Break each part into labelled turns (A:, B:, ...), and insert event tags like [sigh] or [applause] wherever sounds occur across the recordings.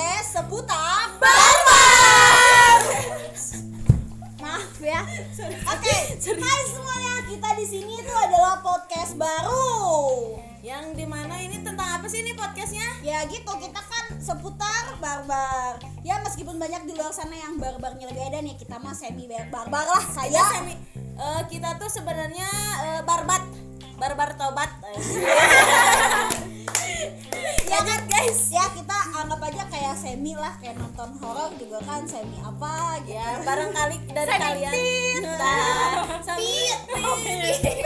A: ya.
B: sih ini podcastnya?
A: Ya gitu, kita kan seputar barbar. Ya meskipun banyak di luar sana yang barbarnya lebih edan ya, kita mah semi barbar lah
B: Ya,
A: saya.
B: Semi. Eh, kita tuh sebenarnya eh, barbat, barbar
A: [laughs]
B: tobat.
A: ya kan guys? Ya kita anggap aja kayak semi lah, kayak nonton horor juga kan semi apa gitu.
B: ya, barangkali dari
C: Semi
B: kalian.
C: tit.
B: Nah,
A: [laughs]
B: semi tit.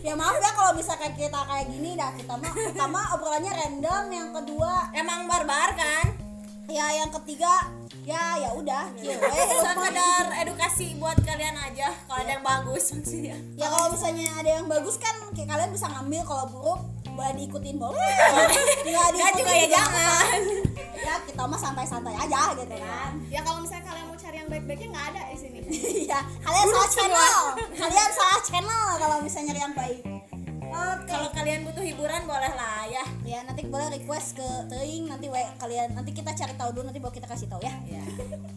A: Ya maaf ya kalau misalkan kita kayak gini dah kita mah pertama obrolannya random, yang kedua
B: Emang barbar kan?
A: ya yang ketiga ya ya udah gitu.
B: Iya.
C: Oh.
B: Sekedar edukasi buat kalian aja kalau ada yang bagus maksudnya.
A: Ya kalau misalnya ada yang bagus kan kayak kalian bisa ngambil kalau buruk boleh diikutin
B: [laughs]
A: boleh. Enggak
C: Iya.
B: Enggak juga ya jangan.
A: Ya kita mah santai-santai aja gitu kan. [laughs]
C: ya kalau misalnya kalian mau cari yang baik-baiknya nggak ada di sini
A: Iya, kalian salah channel. Kalian salah channel kalau misalnya yang baik. Oke.
B: Kalau kalian butuh hiburan boleh lah ya.
A: Ya nanti boleh request ke Teing nanti we, kalian nanti kita cari tahu dulu nanti baru kita kasih tahu ya.
B: Ya.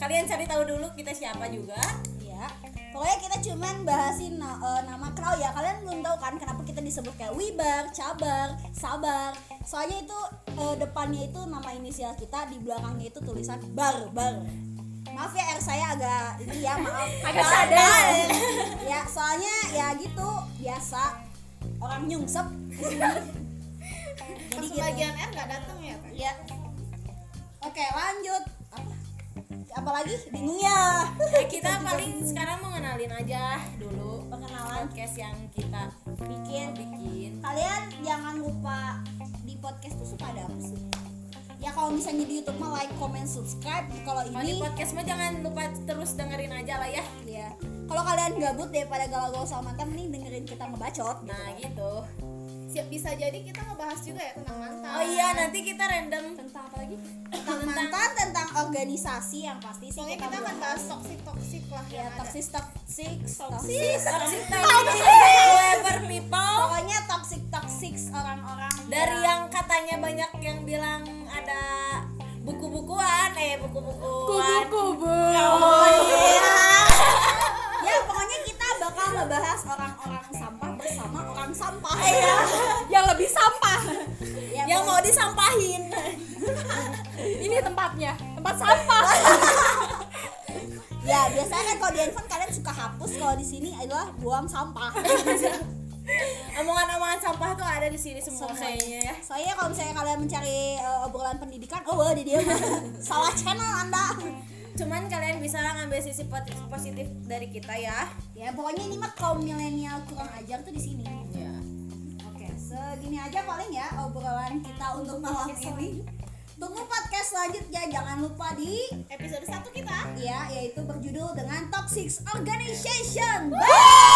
B: Kalian cari tahu dulu kita siapa juga.
A: Iya. Pokoknya kita cuman bahasin na- eh, nama Crow ya. Kalian belum tahu kan kenapa kita disebut kayak Wibar, Cabar, Sabar. Soalnya itu eh, depannya itu nama inisial kita, di belakangnya itu tulisan Bar, Bar. Maaf ya R saya agak ini ya, maaf.
C: [laughs] Agak sadar.
A: ya, soalnya ya gitu biasa orang
C: [laughs]
A: nyungsep.
C: pas
A: Jadi gitu.
C: bagian R nggak datang ya Teh?
A: Ya. Oke, lanjut. Apa? Apalagi bingung ya.
B: Nah, kita
A: [laughs]
B: paling sekarang mau ngenalin aja dulu
A: Perkenalan
B: podcast yang kita
A: bikin
B: bikin.
A: kalian jangan lupa di podcast tuh suka ada apa sih ya kalau misalnya di YouTube mah like comment subscribe kalau
B: Kalau
A: ini
B: di podcast mah jangan lupa terus dengerin aja lah ya.
A: ya kalau kalian gabut daripada galau-galau sama mantan nih dengerin kita ngebacot
B: Nah gitu.
C: siap bisa jadi kita ngebahas juga ya tentang mantan
B: Oh iya nanti kita random
C: tentang apa lagi
A: tentang mantan tentang organisasi yang pasti sih
C: soalnya
A: kita,
C: kita akan
A: belum-
C: bahas toxic toxic lah
A: ya
C: yang ada [laughs]
A: toxic toxic toxic
B: toxic Iya, toxic whoever people
A: pokoknya toxic toxic orang-orang
B: dari yang katanya banyak yang bilang ada buku-bukuan eh buku-bukuan
C: kubu
A: ya pokoknya kita bakal ngebahas orang-orang sampah bersama orang sampah
C: yang lebih sampah
A: Iya. ya,
B: yang mau disampahin
C: ini tempatnya tempat sampah
A: Ya biasanya kan kalau di handphone kalian suka hapus kalau di sini adalah buang [laughs] sampah.
B: omongan-omongan sampah tuh ada di sini semua
A: Semua.
B: kayaknya ya
A: Soalnya kalau misalnya kalian mencari eh, obrolan pendidikan, oh di dia salah channel anda.
B: cuman kalian bisa ngambil sisi pot- positif dari kita ya
A: Ya pokoknya ini mah kaum milenial kurang ajar tuh di sini. Oke, segini aja paling ya obrolan kita untuk malam ini. Tunggu podcast selanjutnya, jangan lupa di
C: episode 1 kita
A: Iya, ya yaitu berjudul dengan Toxic Organization. Bye.